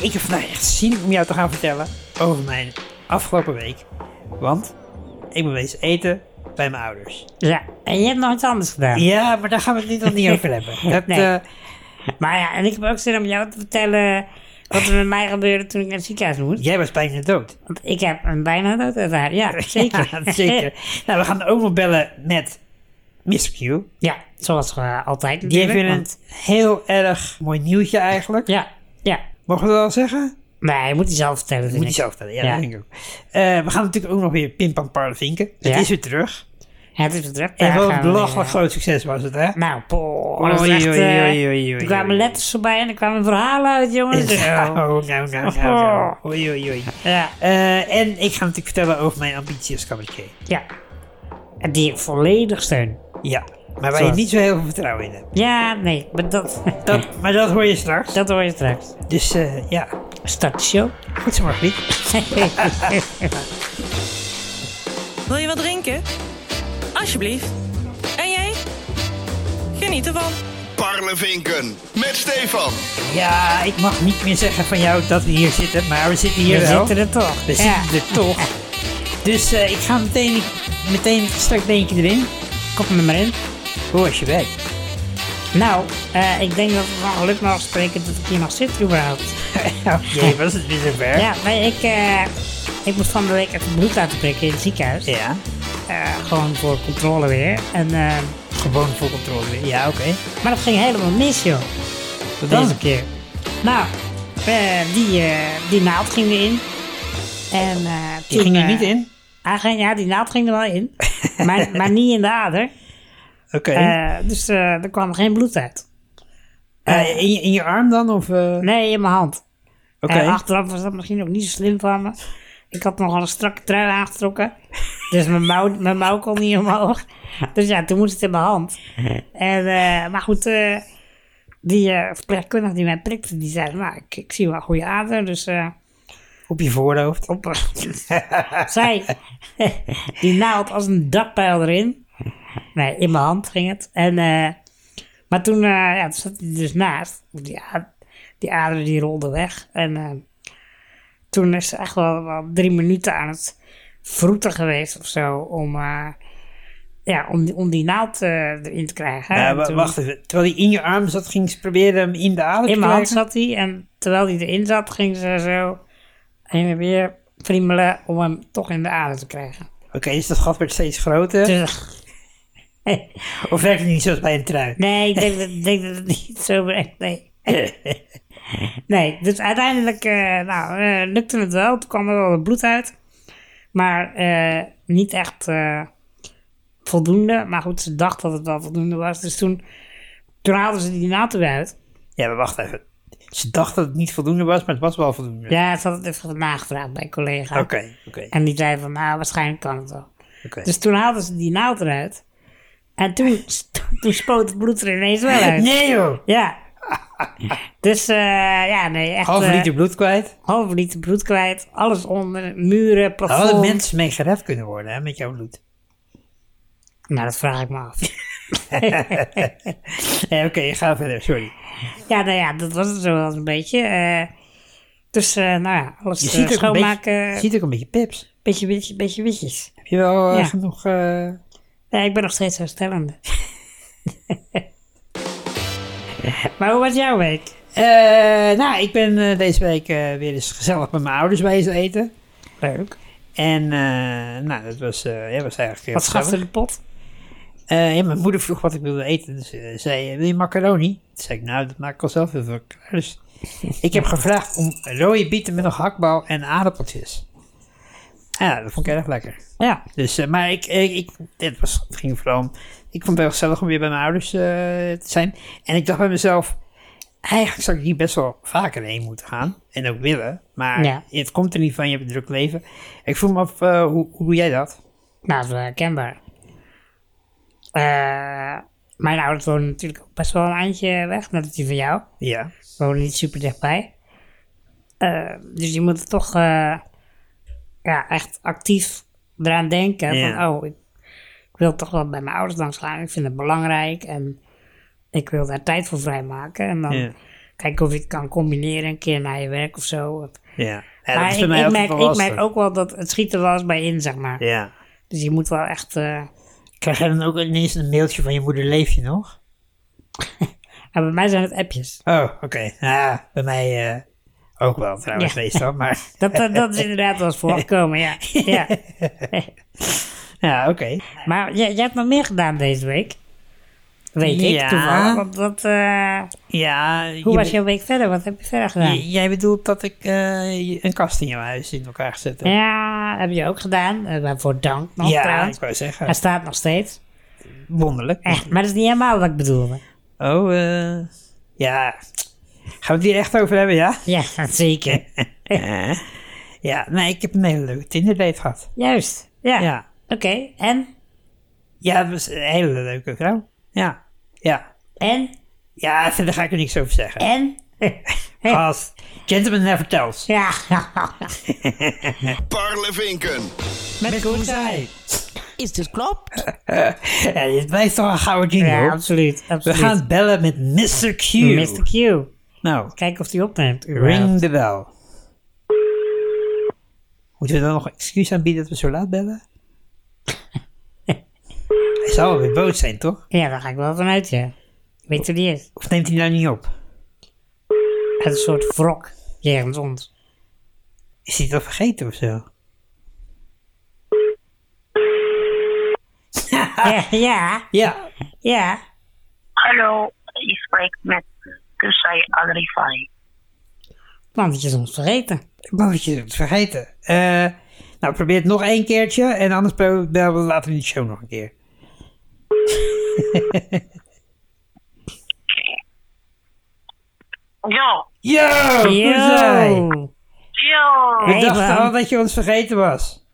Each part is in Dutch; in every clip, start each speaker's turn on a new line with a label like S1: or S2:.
S1: Ik heb vandaag echt zin om jou te gaan vertellen over mijn afgelopen week. Want ik ben wezen eten bij mijn ouders.
S2: Ja, en je hebt nog iets anders gedaan.
S1: Ja, maar daar gaan we het niet, nog niet over hebben. Dat,
S2: Nee.
S1: eh,
S2: Maar ja, en ik heb ook zin om jou te vertellen wat er met mij gebeurde toen ik naar het ziekenhuis moest.
S1: jij was bijna dood.
S2: Want ik heb een bijna dood ervaren. Ja, zeker.
S1: Ja, zeker. Nou, we gaan ook nog bellen met Miss Q.
S2: ja, zoals eh, altijd
S1: Die heeft
S2: natuurlijk.
S1: weer een
S2: want-
S1: heel erg mooi nieuwtje eigenlijk.
S2: Ja, ja.
S1: Mogen we dat al zeggen?
S2: Nee, je moet hij zelf vertellen, vind
S1: Moet je
S2: ik.
S1: zelf vertellen. Ja,
S2: Ja.
S1: dat denk ik ook. Eh, we gaan natuurlijk ook nog weer Pim Pam Parle vinken. Het
S2: Ja.
S1: is weer terug.
S2: Ja, het is weer terug.
S1: En
S2: Daar
S1: wat
S2: gaan
S1: een
S2: we weer,
S1: belachelijk
S2: eh,
S1: groot succes was het, hè?
S2: Nou, poh, dat was echt...
S1: Oei, oei,
S2: eh,
S1: oei, oei, oei,
S2: er kwamen
S1: oei.
S2: letters voorbij en er kwamen verhalen uit, jongens.
S1: Nou,
S2: Ja.
S1: nou, nou, nou, nou.
S2: Oh.
S1: Oei, oei, oei.
S2: ja,
S1: Eh, en ik ga natuurlijk vertellen over mijn ambitie als cabaretier.
S2: ja. En die volledig steun.
S1: Ja, maar waar je
S2: Zoals-
S1: niet zo heel veel vertrouwen in hebt.
S2: Ja, nee, maar dat...
S1: Dat, maar dat hoor je straks.
S2: dat hoor je straks.
S1: Dus eh, ja,
S2: Start de show.
S1: goed zo, Margriet.
S3: Wil je wat drinken? Alsjeblieft. En jij? Geniet ervan.
S4: Parlevinken met Stefan.
S1: Ja, ik mag niet meer zeggen van jou dat we hier zitten, maar we zitten hier
S2: We
S1: wel.
S2: zitten er toch.
S1: we
S2: ja.
S1: zitten er toch. Dus eh, ik ga meteen, meteen het strak beentje erin.
S2: Kop me maar in.
S1: Hoe was je week?
S2: Nou, eh, ik denk dat we van geluk nog spreken dat ik hier nog zit überhaupt.
S1: Oh jee, was het weer zover?
S2: Ja, nee, ik, eh, ik moest van de week even bloed laten prikken in het ziekenhuis.
S1: Ja,
S2: Eh, gewoon voor controle weer. En, eh,
S1: gewoon voor controle weer. Ja, oké.
S2: maar dat ging helemaal mis, joh.
S1: Tot
S2: Deze keer. Nou, eh, die, eh, die naald ging erin. En, eh,
S1: Die
S2: toen,
S1: ging er
S2: eh,
S1: niet in?
S2: hij ging- ja, die naald ging er wel in. maar, maar niet in de ader.
S1: Oké.
S2: Eh, dus eh, er kwam geen bloed uit.
S1: Eh, in, je- in je arm dan? Of, eh,
S2: Nee, in mijn hand.
S1: Oké.
S2: En achteraf was dat misschien ook niet zo slim van me. Ik had nogal een strakke trui aangetrokken. Dus mijn mouw, mijn mouw kon niet omhoog. Dus ja, toen moest het in mijn hand. En, eh, maar goed, eh, die eh, verpleegkundige die mij prikte, die zei... Nou, ik, ik zie wel een goede ader, dus... eh,
S1: Op je voorhoofd.
S2: op, zij, die naald als een dakpijl erin. Nee, in mijn hand ging het. En, eh, maar toen, eh, ja, toen zat hij dus naast. Die, a- die aderen die rolde weg. En eh, toen is ze echt wel, wel drie minuten aan het vroeten geweest of zo. Om, eh, ja, om, die- om die naald eh, erin te krijgen.
S1: Ja,
S2: En
S1: wa-
S2: toen-
S1: wacht even. Terwijl hij in je arm zat, ging ze proberen hem in de adem te
S2: in mijn hand
S1: krijgen?
S2: zat hij. En terwijl hij erin zat, ging ze zo heen en weer friemelen om hem toch in de adem te krijgen.
S1: Oké, dus dat gat werd steeds groter.
S2: Dus-
S1: Of werkt het niet zoals bij een trui?
S2: nee, ik denk dat, ik denk dat het niet zo werkt. Nee. nee, dus uiteindelijk eh, nou, eh, lukte het wel. Toen kwam er wel wat bloed uit. Maar eh, niet echt eh, voldoende. Maar goed, ze dacht dat het wel voldoende was. Dus toen, toen haalden ze die naald weer uit.
S1: Ja, maar wacht even. Ze dacht dat het niet voldoende was, maar het was wel voldoende.
S2: Ja, ze had het even nagevraagd bij een collega.
S1: Oké, oké,
S2: En die zei van, nou, waarschijnlijk kan het wel.
S1: oké.
S2: Dus toen haalden ze die naald eruit. En toen, toen spoot het bloed er ineens wel uit.
S1: Nee joh!
S2: Ja. Dus eh, ja, nee, echt.
S1: Half
S2: eh,
S1: liter bloed kwijt.
S2: halve liter bloed kwijt. Alles onder, muren,
S1: Daar
S2: plafond.
S1: hadden mensen mee gered kunnen worden, hè, met jouw bloed.
S2: Nou, dat vraag ik me af.
S1: Eh, oké, ga verder, sorry.
S2: ja, nou ja, dat was het zo wel een beetje. eh. dus, eh, nou ja, alles
S1: Je
S2: eh,
S1: ziet, ook een beetje,
S2: schoonmaken.
S1: je ziet ook een beetje pips.
S2: beetje, beetje, beetje witjes.
S1: Heb je wel eh,
S2: Ja.
S1: genoeg... eh,
S2: Nee, ik ben nog steeds herstellende. maar hoe was jouw week?
S1: Eh, nou, ik ben eh, deze week eh, weer eens gezellig met mijn ouders wezen eten.
S2: Leuk.
S1: En eh, nou, dat was, eh, ja, was eigenlijk heel
S2: Wat schat
S1: gezellig.
S2: in de pot?
S1: Eh, ja, mijn moeder vroeg wat ik wilde eten. Dus eh, zei, eh, wil je macaroni? Toen zei ik, nou, dat maak ik al zelf heel veel klaar. Dus ik heb gevraagd om rode bieten met nog hakbal en aardappeltjes. Ja, dat vond ik erg lekker.
S2: Ja.
S1: Dus, eh, maar ik, ik, ik- dit was, het ging vooral om, ik vond het wel gezellig om weer bij mijn ouders eh, te zijn. En ik dacht bij mezelf, eigenlijk zou ik hier best wel vaker heen moeten gaan. En ook willen. Maar
S2: Ja.
S1: het komt er niet van, je hebt een druk leven. Ik vroeg me af, eh, hoe, hoe doe jij dat?
S2: Nou, dat is wel herkenbaar. Eh, mijn ouders wonen natuurlijk ook best wel een eindje weg, net als die van jou.
S1: Ja.
S2: Ze wonen niet super dichtbij. Eh, dus je moet er toch eh, ja, echt actief eraan denken. Van,
S1: Ja.
S2: oh, ik, ik wil toch wel bij mijn ouders langs gaan. Ik vind het belangrijk en ik wil daar tijd voor vrijmaken. En dan
S1: Ja.
S2: Kijken of je het kan combineren een keer naar je werk of zo.
S1: Ja. Ja, dat
S2: maar
S1: is bij
S2: ik,
S1: mij
S2: ik
S1: ook
S2: merk,
S1: wel
S2: ik
S1: lastig.
S2: merk ook wel dat het schiet er wel eens bij in, zeg maar.
S1: Ja.
S2: Dus je moet wel echt... eh,
S1: Krijg je dan ook ineens een mailtje van je moeder, leef je nog?
S2: maar bij mij zijn het appjes.
S1: Oh, oké. Ja, bij mij eh, ook wel trouwens
S2: Ja.
S1: meestal, maar
S2: Dat, dat, dat is inderdaad wel eens voorgekomen, ja. ja.
S1: ja, oké.
S2: Maar jij, jij hebt nog meer gedaan deze week. Weet
S1: Ja.
S2: ik toevallig. Want, want, eh,
S1: Ja,
S2: hoe
S1: je
S2: was
S1: be-
S2: jouw week verder? Wat heb je verder gedaan?
S1: J- Jij bedoelt dat ik eh, je- een kast in jouw huis in elkaar gezet heb?
S2: Ja, heb je ook gedaan. Eh, waarvoor dank nog
S1: Ja,
S2: trouwens.
S1: ik wou zeggen.
S2: Hij staat nog steeds.
S1: Wonderlijk.
S2: Echt, maar dat is niet helemaal wat ik bedoelde.
S1: Oh, eh, ja. Gaan we het hier echt over hebben, ja?
S2: Ja, zeker.
S1: Ja, nee, ik heb een hele leuke Tinder-date gehad.
S2: Juist. Ja.
S1: Ja.
S2: Oké, en?
S1: Ja, dat was een hele leuke vrouw. Ja. Ja.
S2: En?
S1: Ja, verder ga ik er niks over zeggen.
S2: En?
S1: Als gentleman never tells.
S2: ja.
S4: Parlevinken.
S1: Met Koezai.
S5: Is dit klopt?
S1: Ja, dit blijft toch een gouden jingle.
S2: ja, absoluut.
S1: we
S2: absoluut.
S1: gaan bellen met Mr. Q.
S2: Mr. Q.
S1: Nou,
S2: Kijken of hij opneemt.
S1: ring de bel. Moeten we dan nog een excuus aanbieden dat we zo laat bellen? hij zal wel weer boos zijn, toch?
S2: Ja, daar ga ik wel vanuit, ja. Ik weet hoe die is.
S1: Of neemt hij nou niet op?
S2: Hij is een soort wrok. Jegens ons.
S1: Is hij het al vergeten of zo?
S2: Ja, ja,
S1: Ja.
S2: ja.
S6: Hallo, je spreekt met Kusai Agrifai.
S2: Want het is ons vergeten.
S1: Ik ben dat je het vergeten. Eh, nou, probeer het nog één keertje. En anders pro- bellen we later in de show nog een keer.
S6: Yo,
S1: Yo! Koezai!
S2: Yo.
S6: yo.
S1: We
S2: Hey,
S1: dachten
S2: man.
S1: al dat je ons vergeten was.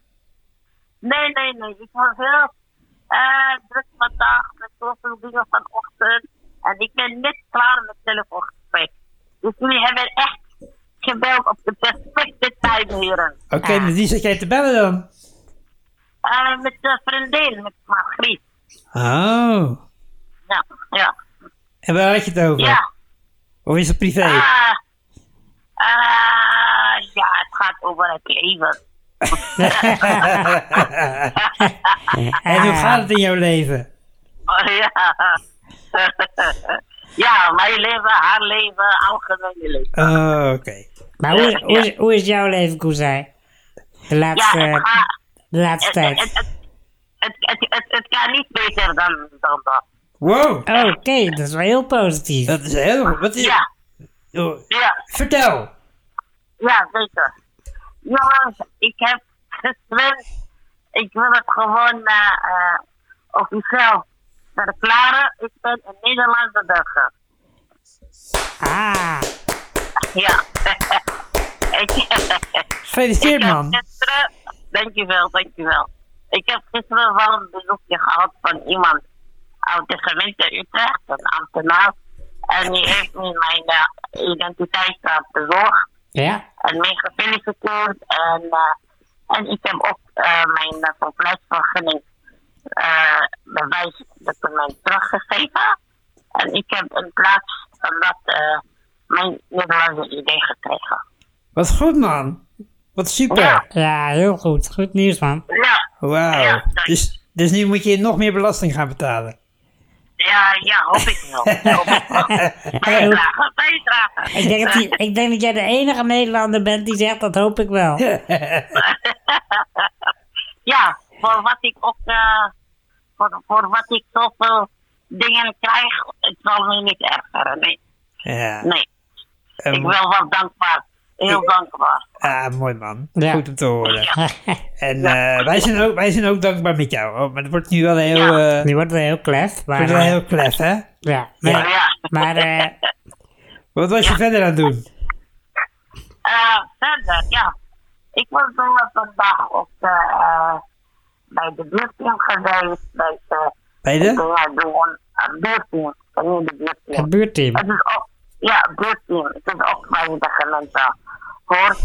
S6: Nee, nee, nee. Ik was heel eh, druk vandaag met zoveel dingen vanochtend. En ik ben net klaar met telefoongesprek. Dus jullie hebben echt gebeld op de perfecte tijd, heren.
S1: Oké, met wie zat jij te bellen dan?
S6: Eh, met de vriendin, met Margriet.
S1: Oh.
S6: Ja, ja,
S1: En waar had je het over?
S6: ja.
S1: Of is het privé?
S6: Ah, ah, ja, het gaat over het leven.
S1: en hoe gaat het in jouw leven?
S6: Oh, ja. ja, mijn leven, haar leven, algemeen leven.
S1: Oh, oké.
S2: Maar hoe is, hoe, is, hoe is jouw leven, Koezij? De
S6: Ja,
S2: laatste,
S6: het, gaat-
S2: de laatste
S6: het,
S2: tijd.
S6: het, het, het, het, het, het kan niet beter dan, dan dat.
S1: Wow,
S2: Oké, dat is wel heel positief.
S1: dat is heel... Wat is,
S6: Ja,
S1: oh,
S6: ja,
S1: vertel!
S6: ja, zeker. Jongens, ik heb gezwemd. Ik wil het gewoon eh, eh, officieel verklaren. Ik ben een Nederlandse burger.
S2: Ah,
S6: Ja. ik,
S1: Gefeliciteerd,
S6: Ik heb
S1: man.
S6: Gisteren, dankjewel, dankjewel. Ik heb gisteren wel een bezoekje gehad van iemand uit de gemeente Utrecht, een ambtenaar. En die heeft me mijn eh, identiteitskaart bezorgd
S2: ja.
S6: en mij gefeliciteerd. En, eh, en ik heb ook eh, mijn uh, verblijfsvergunning eh, bewijsdocument teruggegeven. En ik heb in plaats van dat eh, mijn Nederlandse idee gekregen.
S1: Wat goed, man. Wat super.
S6: Ja.
S2: Ja, heel goed. Goed nieuws, man.
S6: Ja.
S1: Wauw.
S6: Ja, dank.
S1: Dus, dus nu moet je nog meer belasting gaan betalen.
S6: Ja, ja, hoop ik wel. Hoop ik wel. Bijdragen, bijdragen. Eh,
S2: Ik denk, dat die- ik denk dat jij de enige Nederlander bent die zegt, dat hoop ik wel.
S6: Ja, voor wat ik ook, eh, voor, voor wat ik zoveel dingen krijg, het zal me niet ergeren. Nee,
S1: Ja.
S6: nee.
S1: Eh,
S2: Ehm,
S6: Nou, Ik ben wel dankbaar. Heel dankbaar.
S1: Ah, mooi man.
S2: Ja.
S1: Goed om te horen. En eh, wij, zijn ook, wij zijn ook dankbaar met jou. Oh, maar het wordt nu wel heel,
S6: Ja.
S1: eh,
S2: Nu wordt wel heel klef, maar...
S1: wordt wel
S2: eh,
S1: heel klef, hè?
S2: Ja,
S6: Ja.
S2: maar... maar eh,
S1: Wat was je verder aan het doen?
S6: Eh, verder, ja. Ik was eh, vandaag op de, eh, bij de buurtteam geweest. Bij eh, de,
S1: Beide?
S6: ja, de, de buurtteam. De buurtteam.
S2: het buurtteam.
S6: Het is ook, ja, buurtteam. Het is ook bij de gemeente. Hoor,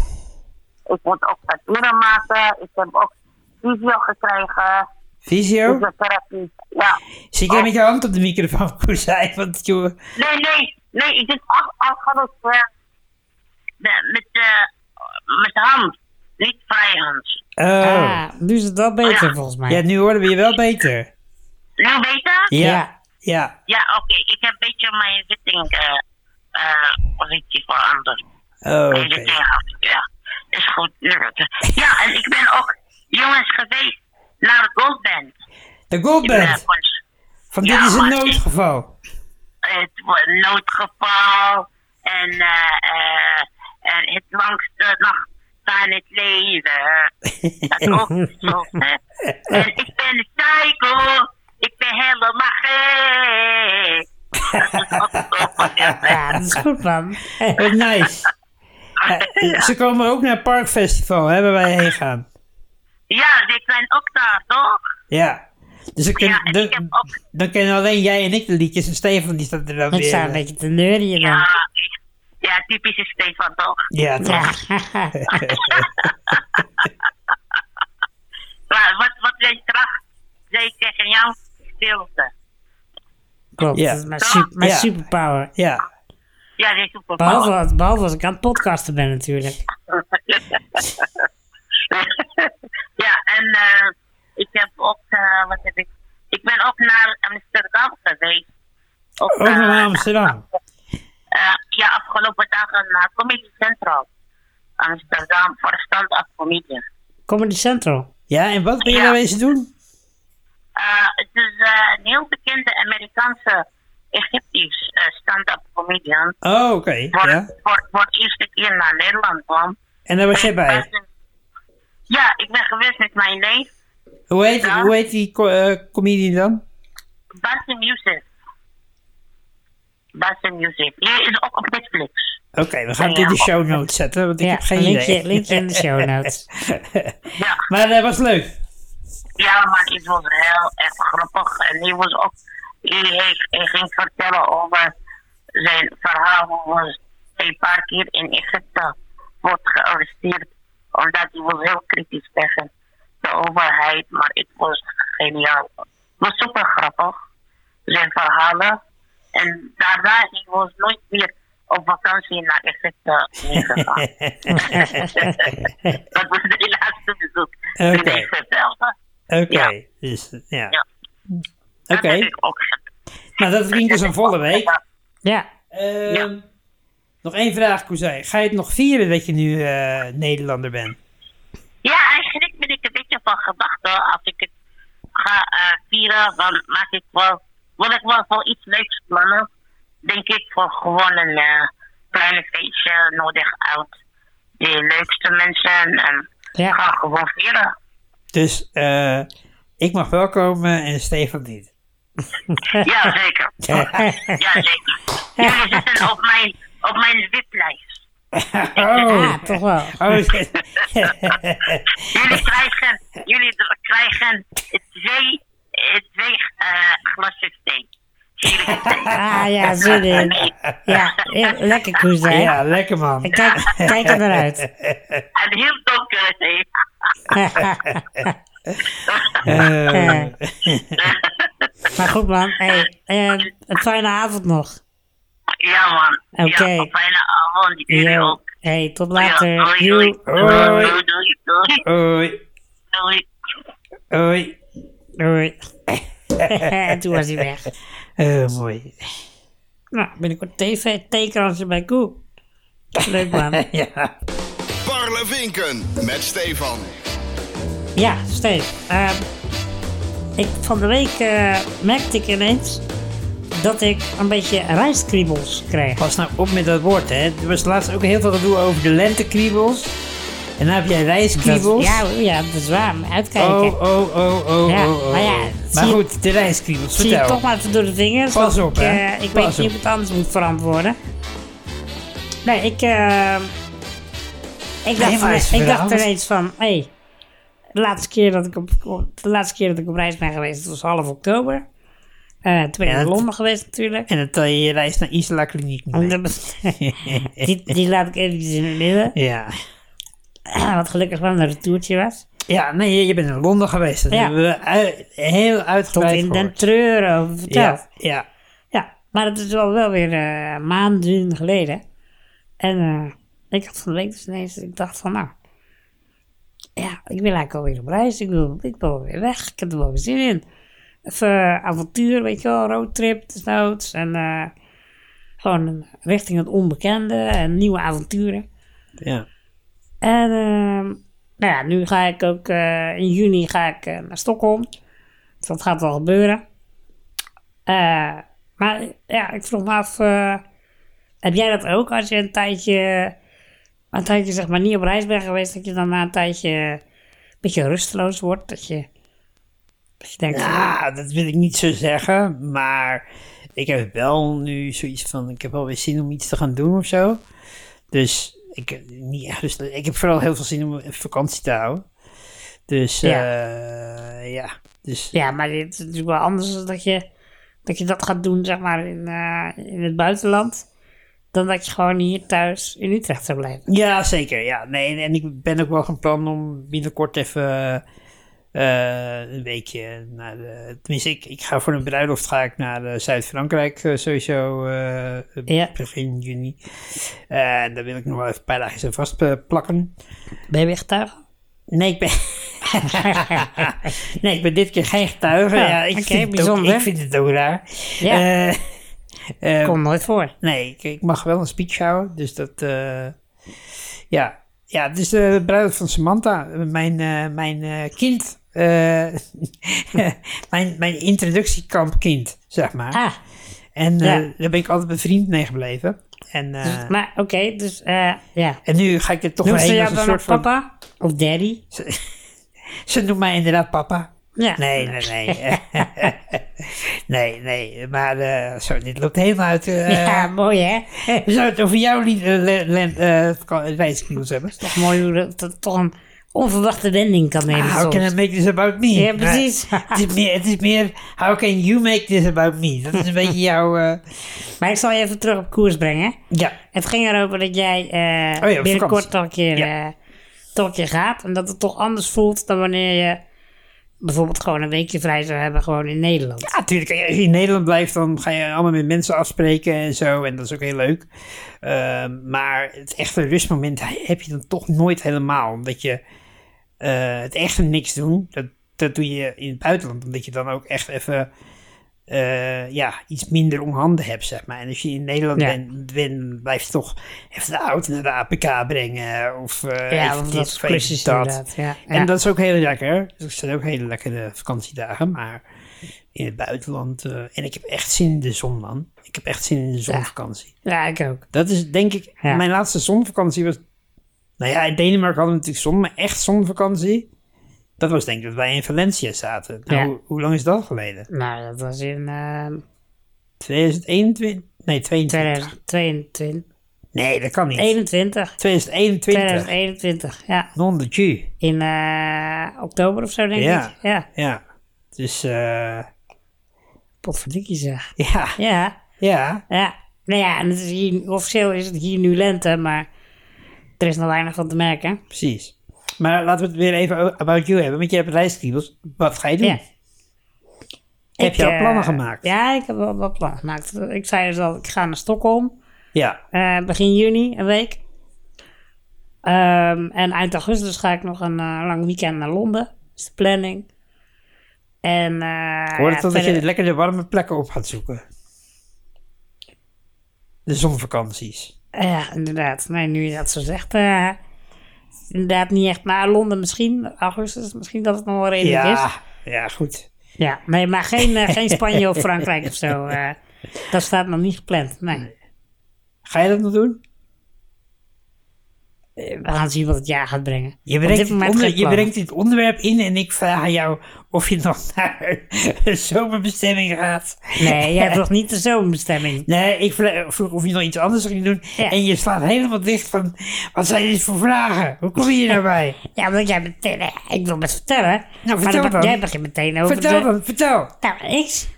S6: ik moet ook papieren maken. Ik heb ook visio gekregen.
S2: Oh.
S1: Visio?
S6: Fysiotherapie. Ja.
S1: Zie jij met je hand op de microfoon, Koezij? Want joh,
S6: Nee, nee. Nee, ik deed af, afgerond eh, de- met, eh, met hand. Niet vrijhands.
S1: Oh.
S2: Ah, nu is het wel beter volgens mij.
S1: Ja, nu horen we je wel beter.
S6: Nu beter?
S1: Ja. Ja.
S2: Ja.
S6: Ja, oké. Ik heb een beetje mijn zitting, eh, eh, positie veranderd.
S1: Oh, oké.
S6: Mijn zitting had, ja. Is goed. nu gaat het. Ja, en ik ben ook jongens geweest naar Eh, de Goldband.
S1: De
S6: Ik ben
S1: Goldband.
S6: van-
S1: Van
S6: Ja,
S1: dit is een
S6: maar-
S1: noodgeval.
S6: het wo- noodgeval en, eh, eh, en het langste nacht van het leven. Dat is ook zo. hè. En ik ben een psycho, ik ben helemaal gek. Dat is ook zo van dit, hè.
S2: Ja, dat is goed man.
S1: Wat nice. Eh, Ze komen ook naar het Parkfestival, hè, waar wij heen gaan.
S6: Ja, die zijn ook daar, toch?
S1: Ja. Dus dan, kun-
S6: Ja, en
S1: dan-
S6: ik heb ook-
S1: dan kennen alleen jij en ik de liedjes en Stefan die staat er dan
S2: Ik
S1: weer.
S2: sta een
S1: eh,
S2: beetje te neurien dan.
S6: Ja, ik- Ah, ja typisch is Stefan, toch?
S1: Ja, toch.
S6: Maar wat, wat zijn kracht? Zij tegen jou stilte.
S2: Klopt,
S1: Ja.
S2: dat is mijn, super, mijn
S1: Ja.
S2: superpower.
S1: Ja.
S6: Ja, die is ook
S2: Behalve, als- behalve als ik aan het podcasten ben natuurlijk.
S6: ja, en eh, ik heb ook, eh, wat heb ik? Ik ben ook naar Amsterdam geweest. Ook,
S1: Ook nog
S6: eh,
S1: naar Amsterdam.
S6: eh, ja, afgelopen dagen naar Comedy Central. Amsterdam voor stand-up comedy.
S2: Comedy Central.
S1: Ja, en wat ben je
S6: Ja.
S1: daar wezen doen?
S6: Eh, het is eh, een heel bekende Amerikaanse Egyptisch eh, stand-up comedian.
S1: Oh, oké.
S6: Voor,
S1: Ja.
S6: voor, voor de eerste keer naar Nederland kwam.
S1: En daar was jij bij.
S6: Ja, ik ben geweest met mijn neef,
S1: Hoe heet,
S6: Ja.
S1: hoe heet die co- eh, comedian dan?
S6: Basim Youssef. Basim Youssef. Die is ook op Netflix.
S1: Oké, we gaan het in de show notes zetten, want ik
S2: ja,
S1: heb geen
S2: linkje,
S1: idee.
S2: linkje in de show notes.
S6: Ja,
S1: Maar dat was leuk.
S6: ja, maar het was heel erg grappig. En die was ook, die, heeft- hij ging vertellen over zijn verhaal. Hoe was hij een paar keer in Egypte wordt gearresteerd. Omdat hij was heel kritisch tegen de overheid. Maar het was geniaal. Het was super grappig. Zijn verhalen. En daarna hij was nooit meer op vakantie naar Egypte meegegaan. Dat was de laatste bezoek. in
S1: Oké.
S6: Egypte.
S1: Oké,
S6: Ja.
S1: dus ja.
S6: Ja.
S1: Oké,
S6: Dat heb ik ook.
S1: nou dat klinkt dus een volle week.
S2: Ja,
S1: Ehm,
S6: Ja.
S1: Nog één vraag, Koezij. Ga je het nog vieren dat je nu eh, Nederlander bent?
S6: Ja, eigenlijk ben ik een beetje van gedachten als ik het ga eh, vieren, dan maak ik wel, wil ik wel voor iets leuks plannen. Denk ik voor gewoon een eh, kleine feestje nodig uit de leukste mensen en
S2: Ja.
S6: ga gewoon vieren.
S1: Dus eh, ik mag wel komen en Stefan niet.
S6: Ja, zeker. ja, zeker. Jullie zitten op mijn, op mijn wiplijst.
S1: Oh,
S2: ah, toch wel.
S1: oh
S6: Jullie krijgen, jullie d- krijgen twee, eh, twee eh, glasjes thee. Jullie
S2: Ah ja, zin in. Ja, heel- lekker koers hè.
S1: ja, lekker man.
S2: Ik Kijk, kijk er naar uit.
S6: En heel donker thee.
S1: Eh,
S2: Eh, maar goed man, hey, eh, een fijne avond nog.
S6: Ja, man.
S2: Oké.
S6: Ja, fijne avond. Jullie
S2: Yo.
S6: ook.
S2: Hey, tot
S6: Ja,
S2: later.
S6: doei, doei.
S2: Joe.
S1: Hoi.
S6: Doei, doei, doei,
S1: Hoi, hoi.
S6: doei.
S2: Doei. en toen was hij weg.
S1: Eh, mooi.
S2: Nou, binnenkort tv tekenhansen bij Koe. Leuk man.
S1: Ja.
S4: Parlevinken met Stefan.
S2: Ja, Steve. ehm, ik, van de week eh, merkte ik ineens dat ik een beetje rijstkriebels kreeg.
S1: Pas nou op met dat woord, hè. Er was laatst ook heel veel gedoe over de lentekriebels. En dan heb jij rijskriebels.
S2: Ja, ja, Oh, dat is waar. maar Uitkijken.
S1: Oh, oh, oh, oh,
S2: Ja,
S1: oh, oh.
S2: maar ja,
S1: maar
S2: zie je-
S1: goed, de rijskriebels,
S2: Zie je
S1: vertel.
S2: toch maar even door de vingers.
S1: Pas
S2: dat
S1: op,
S2: ik,
S1: hè.
S2: eh, ik
S1: Pas
S2: weet
S1: op.
S2: niet of het anders moet verantwoorden. Nee, ik, eh, ik,
S1: Nee,
S2: dacht,
S1: maar is
S2: ine- ik dacht
S1: verhaal.
S2: ineens van, hé, hey, de, laatste keer dat ik op, op- de laatste keer dat ik op reis ben geweest was half oktober. Eh toen ben ik
S1: Ja,
S2: in
S1: dat-
S2: Londen geweest natuurlijk.
S1: En dan tel je je reis naar Isla Kliniek niet mee.
S2: die, die laat ik eventjes in het midden.
S1: Ja.
S2: Wat gelukkig wel een retourtje was.
S1: Ja, nee, je- je bent in Londen geweest. Dat
S2: Ja.
S1: hebben we ui- heel
S2: Tot
S1: uitgebreid
S2: in den
S1: gehoord.
S2: treuren over verteld.
S1: Ja, ja.
S2: Ja, Maar het is al wel weer eh, maanden geleden. En eh, ik had van de week dus ineens, ik dacht van nou, ja, ik wil eigenlijk alweer op reis. Ik wil, ik wil weer weg. Ik heb er wel weer zin in. Even eh, avontuur, weet je wel, roadtrip desnoods. En eh, gewoon richting het onbekende en nieuwe avonturen.
S1: Ja.
S2: En ehm, nou ja, nu ga ik ook eh, in juni ga ik eh, naar Stockholm. Dus dat gaat wel gebeuren. Eh, maar ja, ik vroeg me af, eh, heb jij dat ook als je een tijdje, een tijdje zeg maar niet op reis bent geweest, dat je dan na een tijdje een beetje rusteloos wordt? Dat je, dat je denkt,
S1: Ja, Ah, dat wil ik niet zo zeggen, maar ik heb wel nu zoiets van, ik heb wel weer zin om iets te gaan doen of zo. Dus ik, heb niet, echt rust- ik heb vooral heel veel zin om een vakantie te houden. Dus
S2: Ja.
S1: ja, ja. Dus,
S2: Ja, maar het is natuurlijk wel anders dan dat je dat, je dat gaat doen, zeg maar, in, eh, in het buitenland. Dan dat je gewoon hier thuis in Utrecht zou blijven.
S1: ja, zeker. Ja. Nee, en- en ik ben ook wel van plan om binnenkort even eh, een weekje naar de... Tenminste, ik, ik ga voor een bruiloft ga ik naar eh, Zuid-Frankrijk eh, sowieso eh,
S2: Ja.
S1: begin juni. Eh, En daar wil ik nog wel even een paar dagen aan vast eh, plakken.
S2: Ben je weer getuige?
S1: Nee, ik ben. nee, ik ben dit keer geen getuige. Ja,
S2: Ja,
S1: ik,
S2: Ah, oké,
S1: vind het ook,
S2: bijzonder.
S1: ik vind het ook raar.
S2: Ja,
S1: Eh, eh,
S2: komt nooit voor.
S1: nee, ik, ik mag wel een speech houden. Dus dat. eh, ja. ja, het is de bruiloft van Samantha. Mijn, eh, mijn eh, kind. eh, mijn, mijn introductiekampkind, zeg maar.
S2: Ah,
S1: en eh,
S2: ja.
S1: daar ben ik altijd bevriend mee gebleven. En, eh,
S2: dus- maar oké, dus eh, ja.
S1: en nu ga ik er toch
S2: Noemt
S1: weer
S2: ze
S1: heen
S2: jou
S1: als een
S2: dan ook
S1: soort van...
S2: papa? Of daddy?
S1: Ze noemt mij inderdaad papa.
S2: Ja.
S1: Nee, nee, nee. nee, nee. Maar eh, zo, dit loopt helemaal uit. eh
S2: ja, mooi hè?
S1: We zouden het over jouw lied, eh, le- le- eh, vaka- reisnieuws hebben.
S2: Toch mooi hoe dat, dat toch een onverwachte wending kan nemen
S1: Ah, How
S2: soms.
S1: can I make this about me?
S2: Ja, precies.
S1: Maar het, is meer, het is meer, how can you make this about me? Dat is een beetje jouw... eh,
S2: Maar ik zal je even terug op koers brengen.
S1: ja,
S2: Het ging erover dat jij eh,
S1: Oh ja, op
S2: binnenkort
S1: vakantie.
S2: toch een, keer,
S1: Ja.
S2: eh, toch een keer gaat. En dat het toch anders voelt dan wanneer je bijvoorbeeld gewoon een weekje vrij zou hebben gewoon in Nederland.
S1: Ja, natuurlijk. Als je in Nederland blijft, dan ga je allemaal met mensen afspreken en zo. En dat is ook heel leuk. Ehm, maar het echte rustmoment heb je dan toch nooit helemaal. Omdat je eh, het echte niks doen, dat, dat doe je in het buitenland. Omdat je dan ook echt even eh, ja, iets minder om handen hebt, zeg maar. En als je in Nederland
S2: Ja.
S1: bent, bent, blijf je toch even de auto naar de APK brengen. Of eh,
S2: Ja,
S1: even
S2: want
S1: dit
S2: dat is
S1: of even
S2: klusjes
S1: dat.
S2: inderdaad. Ja,
S1: En
S2: ja.
S1: dat is ook heel lekker. Dus het zijn ook hele lekkere vakantiedagen. Maar in het buitenland. eh, en ik heb echt zin in de zon, man. Ik heb echt zin in de zonvakantie.
S2: ja, ik ook.
S1: Dat is denk ik.
S2: Ja.
S1: Mijn laatste zonvakantie was. Nou ja, in Denemarken hadden we natuurlijk zon, maar echt zonvakantie. Dat was denk ik dat wij in Valencia zaten. Nou,
S2: Ja.
S1: hoe, hoe lang is dat geleden?
S2: Nou, dat was in eh,
S1: 2021? Nee, 22.
S2: 2022.
S1: Nee, dat kan niet.
S2: 21.
S1: 2021.
S2: 2021, ja.
S1: Non de Ju.
S2: In eh, oktober of zo, denk
S1: Ja.
S2: ik. Ja,
S1: Ja. Dus, eh,
S2: potverdikkie zeg.
S1: ja.
S2: Ja,
S1: Ja.
S2: ja. Nou ja, en het is hier, officieel is het hier nu lente, maar er is nog weinig van te merken.
S1: Precies. Maar laten we het weer even o- about you hebben, want je hebt reiskriebels. Wat ga je doen?
S2: Ja.
S1: Heb je
S2: Ik,
S1: al
S2: eh,
S1: plannen gemaakt?
S2: Ja, ik heb wel wat plannen gemaakt. Ik zei dus al, ik ga naar Stockholm
S1: Ja.
S2: eh, begin juni, een week. Ehm, en eind augustus ga ik nog een eh, lang weekend naar Londen. Dat is de planning. En, eh,
S1: Ik Hoorde
S2: ja,
S1: het al dat
S2: verder-
S1: je lekker de warme plekken op gaat zoeken? De zonvakanties.
S2: Ja, inderdaad. Nee, nu je dat zo zegt, eh, inderdaad niet echt. Maar Londen misschien, augustus, misschien dat het nog wel redelijk is.
S1: Ja, ja, goed.
S2: Ja, nee, maar geen, eh, geen Spanje of Frankrijk of zo. eh, dat staat nog niet gepland, nee.
S1: Ga je dat nog doen?
S2: Eh, We gaan zien wat het jaar gaat brengen.
S1: Je
S2: Op
S1: brengt,
S2: dit
S1: dit
S2: moment geen
S1: je
S2: plannen.
S1: brengt dit onderwerp in en ik vraag aan jou of je nog naar een zomerbestemming gaat.
S2: Nee, jij hebt nog niet de zomerbestemming.
S1: Nee, ik vra- vroeg of je nog iets anders ging doen.
S2: Ja.
S1: En je slaat helemaal dicht van, wat zijn dit voor vragen? Hoe kom je hier nou bij?
S2: Ja, want jij meteen... eh, Ik wil best vertellen. maar
S1: Nou, vertel
S2: be-
S1: dan.
S2: jij begint meteen over
S1: vertel
S2: de...
S1: dan, vertel.
S2: Nou, niks.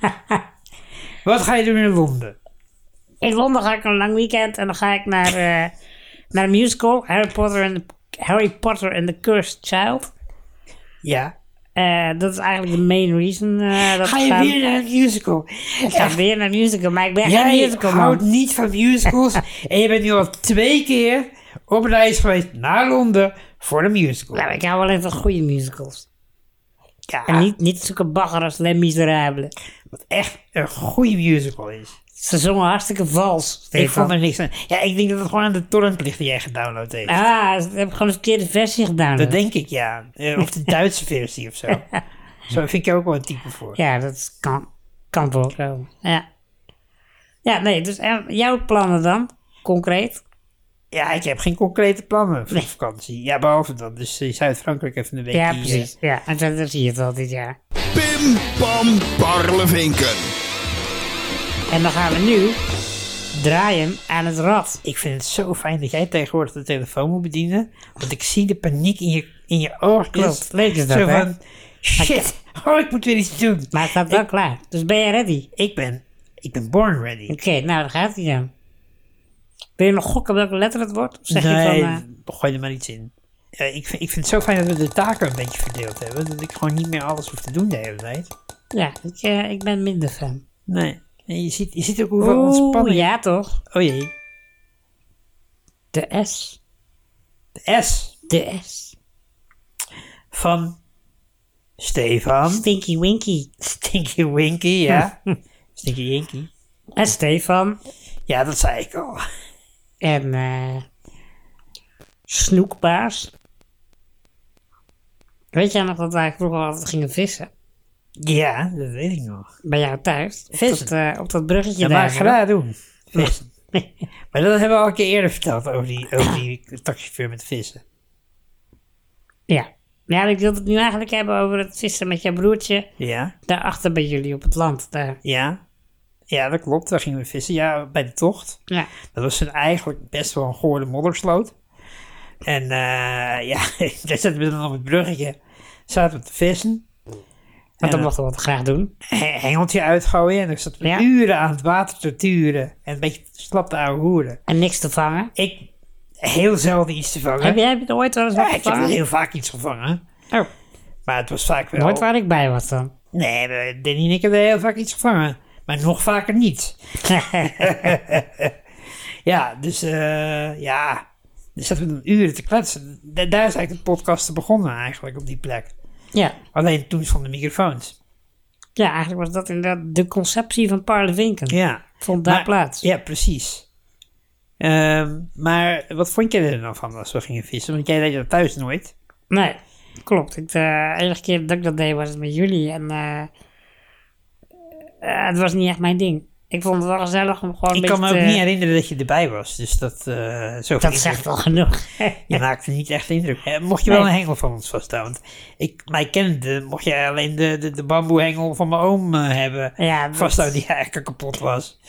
S1: Wat ga je doen in Londen?
S2: in Londen ga ik een lang weekend en dan ga ik naar, eh, naar een musical. Harry Potter, and the, Harry Potter and the Cursed Child.
S1: Ja.
S2: Eh, dat is eigenlijk de main reason. eh, dat
S1: Ga
S2: ik
S1: je
S2: ga-
S1: weer naar een musical?
S2: Ik ga weer naar musical, maar ik ben geen
S1: Jij
S2: musical
S1: houdt
S2: man.
S1: niet van musicals en je bent nu al twee keer op reis geweest naar Londen voor de musical.
S2: Nou, ik hou alleen van goede musicals. En niet, niet zulke bagger als Les Miserables.
S1: Wat echt een goede musical is.
S2: Ze zongen hartstikke vals,
S1: Ik vond
S2: Stefan.
S1: er niks aan. Ja, ik denk dat het gewoon aan de torrent ligt die jij gedownload heeft.
S2: Ah, ze hebben gewoon een verkeerde versie gedaan.
S1: Dat denk ik, ja. Eh, Of de Duitse versie of zo. Zo vind ik er ook wel een type voor.
S2: Ja, dat kan, kan voorkomen. Ja. Ja, nee, dus en jouw plannen dan, concreet?
S1: Ja, ik heb geen concrete plannen voor vakantie. Ja, behalve dan dus eh, Zuid-Frankrijk even een weekje.
S2: Ja,
S1: eh,
S2: precies. Ja, en verder zie je het wel dit jaar.
S4: Pim Pam Parlevinken.
S2: En dan gaan we nu draaien aan het rad.
S1: Ik vind het zo fijn dat jij tegenwoordig de telefoon moet bedienen. Want ik zie de paniek in je, in je ogen.
S2: Klopt, leuk is dat,
S1: Zo
S2: hè?
S1: van, shit, oh, ik moet weer iets doen.
S2: Maar het staat wel klaar. Dus ben je ready?
S1: Ik ben, ik ben born ready.
S2: Oké, nou, daar gaat hij dan. Wil je nog gokken welke letter het wordt? Of zeg je van... eh,
S1: gooi er maar iets in. Eh, ik, vind, ik vind het zo fijn dat we de taken een beetje verdeeld hebben. Dat ik gewoon niet meer alles hoef te doen de hele tijd.
S2: ja, ik, eh, ik ben minder fan.
S1: Nee. En je ziet, je ziet ook hoeveel ontspanning.
S2: ja toch?
S1: Oh jee.
S2: De S.
S1: De S
S2: De S.
S1: van Stefan.
S2: Stinky Winky.
S1: Stinky Winky, ja. Stinky Winky.
S2: En Stefan.
S1: Ja, dat zei ik al.
S2: En eh snoekbaars. Weet jij nog dat wij vroeger altijd gingen vissen?
S1: Ja, dat weet ik nog.
S2: Bij jou thuis? Op
S1: Vissen?
S2: Dat, eh, op dat bruggetje
S1: Dat mag
S2: daar.
S1: ik graag doen. Vissen. maar dat hebben we al een keer eerder verteld over die, over die taxichauffeur met vissen.
S2: Ja. Ja, ik wilde het nu eigenlijk hebben over het vissen met jouw broertje.
S1: Ja,
S2: Daarachter bij jullie op het land. Daar.
S1: ja. Ja, dat klopt. Daar gingen we vissen. Ja, bij de tocht.
S2: Ja.
S1: Dat was een eigenlijk best wel een goorde moddersloot. En eh, ja, daar zaten we dan op het bruggetje. Zaten we te vissen.
S2: Want
S1: En,
S2: dat
S1: eh,
S2: mochten we wat graag doen.
S1: he- hengeltje uitgooien. En ik zat
S2: Ja.
S1: uren aan het water te turen. En een beetje slap te ouwe hoeren.
S2: En niks te vangen.
S1: Ik heel zelden iets te vangen.
S2: Heb, jij, heb je er ooit wel eens wat
S1: Ja, ik heb wel
S2: gevangen?
S1: heel vaak iets gevangen.
S2: Oh,
S1: Maar het was vaak wel...
S2: nooit waar ik bij was dan.
S1: Nee, we- Danny en ik hebben heel vaak iets gevangen. Maar nog vaker niet. ja, dus eh, ja... Dus zaten we dan uren te kletsen. Da- daar is eigenlijk de podcast begonnen eigenlijk, op die plek.
S2: ja.
S1: Alleen toen stonden microfoons.
S2: ja, eigenlijk was dat inderdaad de conceptie van Parlevinken.
S1: Ja.
S2: Vond daar
S1: Maar-
S2: plaats.
S1: Ja, precies. Ehm, maar wat vond jij er dan van als we gingen vissen? Want jij deed dat thuis nooit.
S2: Nee, klopt. Ik, eh, de enige keer dat ik dat deed was het met jullie. En eh, eh, het was niet echt mijn ding. Ik vond het wel gezellig om gewoon een
S1: ik kan me ook
S2: beetje te-
S1: niet herinneren dat je erbij was. Dus dat... eh zo
S2: eh, Dat zegt wel genoeg.
S1: Je maakte niet echt indruk. Eh, Mocht je wel
S2: Nee.
S1: een hengel van ons vasthouden? Want ik, mij kennende, mocht jij alleen de, de, de bamboehengel van mijn oom eh, hebben
S2: Ja, dat-
S1: vasthouden die eigenlijk kapot was.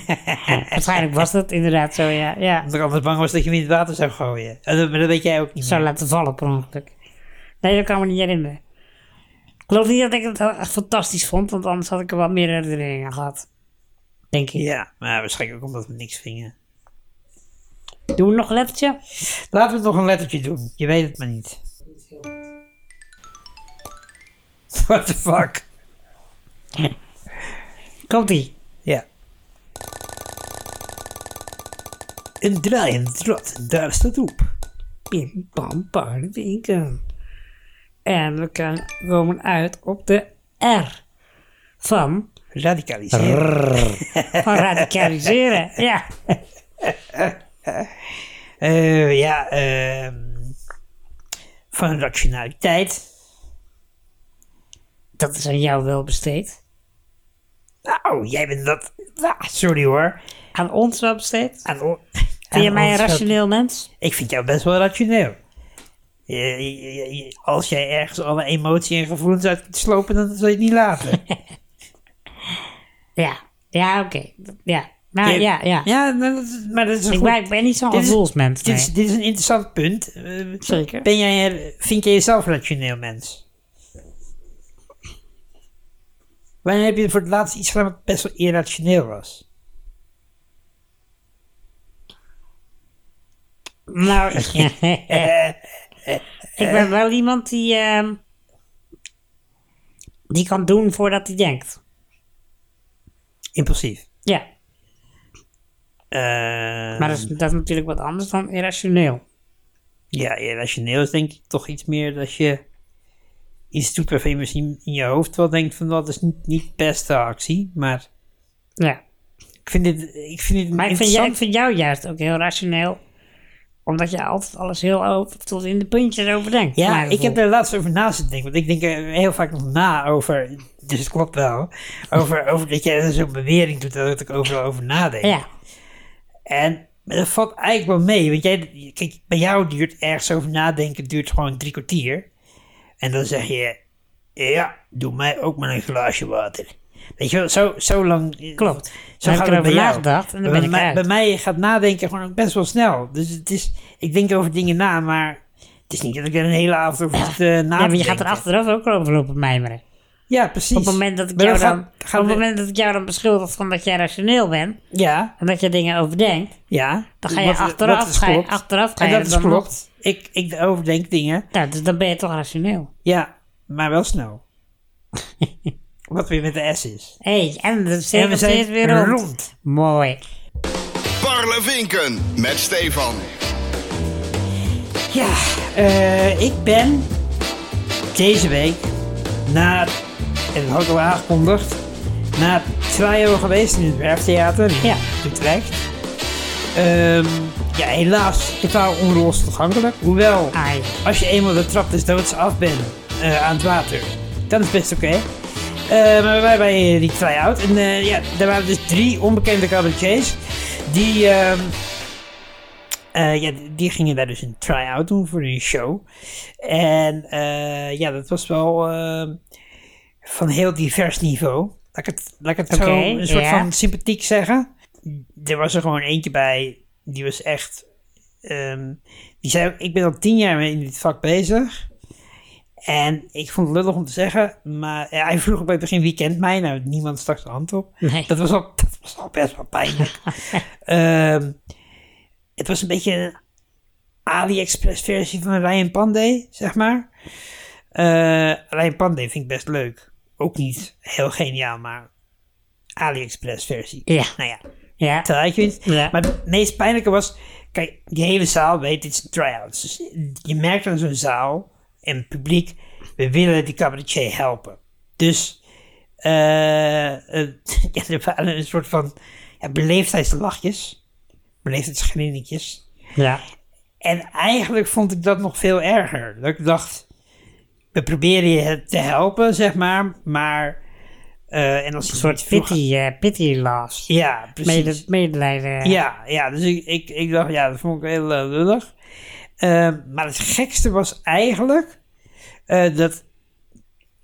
S2: Waarschijnlijk was dat inderdaad zo, ja. ja.
S1: Omdat ik anders bang was dat je hem in het water zou gooien. Eh, dat- Maar dat weet jij ook niet
S2: Zou
S1: meer.
S2: laten vallen per ongeluk. Nee, dat kan me niet herinneren. Ik geloof niet dat ik het echt fantastisch vond, want anders had ik er wat meer herinneringen aan gehad. Denk ik.
S1: Ja, maar waarschijnlijk ook omdat we niks vingen.
S2: Doen we nog een lettertje?
S1: Laten we nog een lettertje doen. Je weet het maar niet. What the fuck?
S2: Komt-ie.
S1: Ja. Een draaiend rad, daar staat op.
S2: Pim Pam Paardenwinkel. En we kan- komen uit op de R van,
S1: Radicaliseren.
S2: van radicaliseren. ja.
S1: Eh, ja, ehm, van rationaliteit.
S2: Dat is aan jou wel besteed.
S1: Nou, jij bent dat. Ah, sorry hoor.
S2: Aan ons wel besteed.
S1: Aan o- aan
S2: Vind je mij een
S1: ons wel-
S2: rationeel mens?
S1: Ik vind jou best wel rationeel. Je- je- je- je- als jij ergens alle emotie en gevoelens uit kunt slopen, dan zal je het niet laten.
S2: Ja. Ja, oké. Ja. Nou,
S1: Je-
S2: ja, ja.
S1: Ja, nou, dat is- maar dat is een
S2: Ik
S1: goed-
S2: ben, ik ben niet zo'n
S1: Dit is-
S2: gevoelsmens,
S1: Dit is,
S2: nee.
S1: dit is een interessant punt. Eh,
S2: Zeker.
S1: Ben jij, een- vind jij jezelf een rationeel mens? Wanneer heb je voor het laatst iets gedaan wat best wel irrationeel was?
S2: Nou, ik ben wel iemand die ehm, die kan doen voordat hij denkt.
S1: Impulsief.
S2: Ja,
S1: Eh,
S2: maar dat is, dat is natuurlijk wat anders dan irrationeel.
S1: Ja, irrationeel is denk ik toch iets meer dat je iets doet waarvan je misschien in je hoofd wel denkt van "Nou, dat is niet, niet de beste actie. Maar
S2: Ja.
S1: ik vind dit, ik vind dit
S2: Maar ik vind, jij,
S1: interessant.
S2: ik vind jou juist ook heel rationeel. Omdat je altijd alles heel over, tot in de puntjes overdenkt.
S1: Ja,
S2: Maar
S1: ik heb er laatst over na zitten denken. Want ik denk er heel vaak nog na over, dus het klopt wel, over, over dat jij zo'n bewering doet dat ik overal over nadenk.
S2: Ja,
S1: En maar dat valt eigenlijk wel mee. Want jij, kijk, bij jou duurt ergens over nadenken, duurt gewoon drie kwartier. En dan zeg je, ja, doe mij ook maar een glaasje water. Weet je wel, zo, zo lang...
S2: Klopt.
S1: Zo
S2: Dan
S1: gaat
S2: heb ik
S1: het bij
S2: erover
S1: jou.
S2: nagedacht en dan ben
S1: bij,
S2: ik
S1: mij-
S2: eruit.
S1: bij mij gaat nadenken gewoon ook best wel snel. Dus het is, ik denk over dingen na, maar het is niet dat ik er een hele avond over zit eh, na
S2: ja maar
S1: te
S2: je gaat er
S1: denken.
S2: achteraf ook over lopen mijmeren.
S1: Ja, precies.
S2: Op het moment dat ik,
S1: Maar
S2: jou
S1: gaat-
S2: dan,
S1: gaat-
S2: op het moment dat ik jou dan beschuldig van dat jij rationeel bent.
S1: Ja,
S2: En dat je dingen overdenkt.
S1: ja.
S2: Dan ga je
S1: Wat- wat
S2: achteraf-
S1: is
S2: ga je
S1: klopt.
S2: achteraf ga
S1: En
S2: je
S1: dat
S2: er
S1: is
S2: dan nog-
S1: klopt. Ik, ik overdenk dingen.
S2: Nou, dus dan ben je toch rationeel.
S1: Ja, maar wel snel. Wat weer met de S is.
S2: Hé, hey, en de
S1: En we
S2: cirkel
S1: zijn
S2: is weer rond.
S1: rond.
S2: Mooi.
S4: Parlevinken met Stefan.
S1: Ja, eh, ik ben deze week naar, en dat had ik al aangekondigd, naar Twaaio geweest in het Werftheater in
S2: Ja.
S1: Utrecht. Ehm, ja, helaas totaal onrols toegankelijk. Hoewel,
S2: Ai.
S1: als je eenmaal de trap des doods af bent eh, aan het water, dan is het best oké. Eh, maar wij bij die try-out. En eh, ja, daar waren dus drie onbekende cabaretiers. Die, ehm, eh, ja, die gingen daar dus een try-out doen voor hun show. En eh, ja, dat was wel ehm, van heel divers niveau. Laat ik het, laat ik het
S2: Oké,
S1: zo een soort
S2: ja.
S1: van sympathiek zeggen. Er was er gewoon eentje bij, die was echt... ehm, die zei ook, ik ben al tien jaar in dit vak bezig. En ik vond het lullig om te zeggen, maar ja, hij vroeg ook bij het begin wie kent mij. Nou, niemand stak zijn hand op.
S2: Nee.
S1: Dat, was al, dat was al best wel pijnlijk. Ehm, het was een beetje een AliExpress versie van Ryan Pandey, zeg maar. Eh Ryan Pandey vind ik best leuk. Ook niet heel geniaal, maar AliExpress versie.
S2: Ja.
S1: Nou ja,
S2: Ja.
S1: truitjes.
S2: Ja.
S1: Maar het meest pijnlijke was... Kijk, die hele zaal weet, dit zijn try-outs. Dus je merkt aan zo'n zaal en het publiek... We willen die cabaretier helpen. Dus... eh, eh, ja, er waren een soort van... Ja, beleefdheidslachjes. Beleefdheidsgrinnetjes.
S2: Ja.
S1: En eigenlijk vond ik dat nog veel erger. Dat ik dacht, we proberen je te helpen, zeg maar, maar... eh, en als
S2: Een soort pity, eh pity loss.
S1: Ja, precies.
S2: Mede, medelijden.
S1: Ja, ja dus ik, ik, ik dacht, ja, dat vond ik heel eh, lullig. Eh, maar het gekste was eigenlijk eh, dat.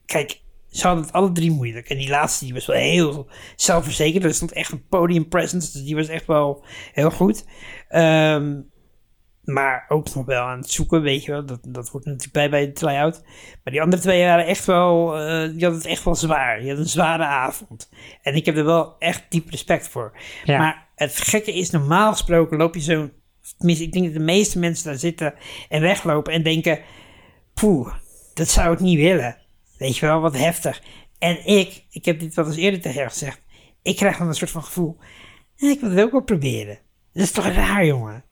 S1: Kijk, ze hadden het alle drie moeilijk. En die laatste die was wel heel zelfverzekerd. Er stond echt een podium presence, dus die was echt wel heel goed. Ehm, maar ook nog wel aan het zoeken, weet je wel. Dat, dat hoort natuurlijk bij bij de try-out. Maar die andere twee waren echt wel... eh, die hadden het echt wel zwaar. Die hadden een zware avond. En ik heb er wel echt diep respect voor.
S2: Ja.
S1: Maar het gekke is, normaal gesproken loop je zo... Tenminste, ik denk dat de meeste mensen daar zitten en weglopen en denken... Poeh, dat zou ik niet willen. Weet je wel, wat heftig. En ik, ik heb dit wel eens eerder tegen jou gezegd. Ik krijg dan een soort van gevoel... "Ja, Ik wil het ook wel proberen. Dat is toch raar, jongen?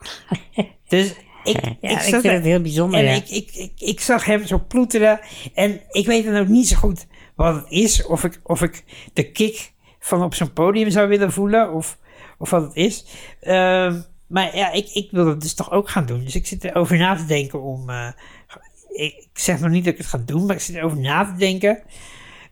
S1: Dus ik,
S2: Ja,
S1: ik,
S2: ik
S1: zat
S2: vind
S1: er-
S2: het heel bijzonder,
S1: En
S2: ja.
S1: ik, ik, ik, ik zag hem zo ploeteren. En ik weet dan ook niet zo goed wat het is. Of ik, of ik de kick van op zo'n podium zou willen voelen. Of, of wat het is. Ehm, maar ja, ik, ik wil dat dus toch ook gaan doen. Dus ik zit erover na te denken om... eh, ik, ik zeg nog niet dat ik het ga doen, maar ik zit erover na te denken.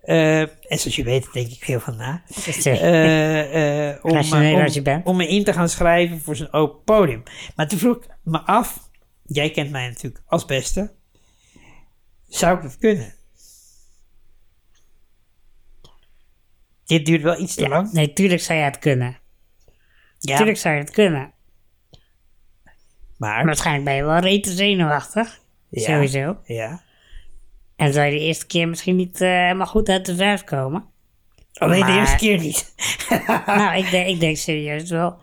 S1: Eh, en zoals je weet denk ik veel van na.
S2: Ja.
S1: Eh, eh, om,
S2: Rationeel
S1: eh, om-
S2: als je bent.
S1: om me in te gaan schrijven voor zo'n open podium. Maar toen vroeg ik me af, jij kent mij natuurlijk als beste, zou ik dat kunnen? Dit duurt wel iets te lang.
S2: Nee, tuurlijk zou je het kunnen.
S1: Ja,
S2: Tuurlijk zou je het kunnen.
S1: maar...
S2: Waarschijnlijk ben je wel rete zenuwachtig.
S1: ja,
S2: Sowieso.
S1: Ja.
S2: En zou je de eerste keer misschien niet eh, helemaal goed uit de verf komen.
S1: Alleen de
S2: Maar-
S1: eerste keer niet.
S2: nou, ik denk, ik denk serieus wel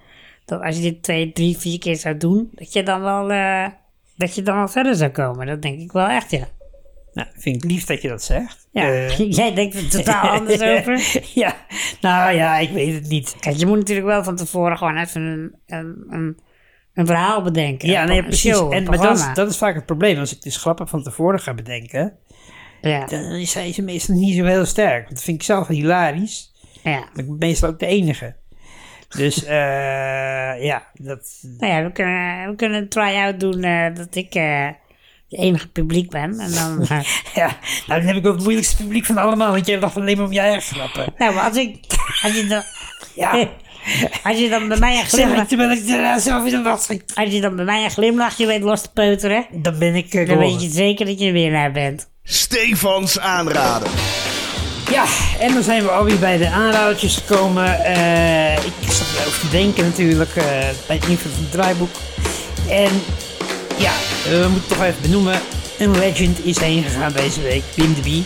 S2: dat als je dit twee, drie, vier keer zou doen, dat je dan wel, eh, dat je dan wel verder zou komen. Dat denk ik wel echt, ja.
S1: Nou, vind ik lief dat je dat zegt.
S2: Ja,
S1: Eh,
S2: jij denkt er totaal anders over.
S1: ja, nou ja, ik weet het niet.
S2: Kijk, je moet natuurlijk wel van tevoren gewoon even een, een, een, een verhaal bedenken.
S1: Ja,
S2: Een
S1: nee,
S2: pro-
S1: precies.
S2: show, een
S1: en, maar dat is,
S2: programma.
S1: dat is vaak het probleem. Als ik dus grappen van tevoren ga bedenken,
S2: Ja,
S1: dan zijn ze meestal niet zo heel sterk. Dat vind ik zelf hilarisch.
S2: ja.
S1: Maar ik ben meestal ook de enige. Dus eh, ja, dat,
S2: Nou ja, we kunnen, we kunnen een try-out doen eh, dat ik eh de enige publiek ben. En dan, eh,
S1: ja, nou, dan heb ik wel het moeilijkste publiek van allemaal, want jij lacht alleen maar om je eigen grappen.
S2: nou, maar als ik... Als je dan,
S1: Ja,
S2: als je dan bij mij een
S1: zeg ik
S2: glimlach...
S1: terwijl ik daarna zelf in de wacht schiet.
S2: Als je dan bij mij een glimlachje weet los te peuteren...
S1: Dan ben ik eh,
S2: Dan
S1: gewonnen.
S2: weet je zeker dat je een winnaar bent.
S4: Stefans aanraden.
S1: Ja, en dan zijn we alweer bij de aanradertjes gekomen. Eh, ik zat erover te denken natuurlijk eh, bij het invullen van het draaiboek. En ja, eh, we moeten toch even benoemen. Een legend is heen gegaan deze week. Wim de Bie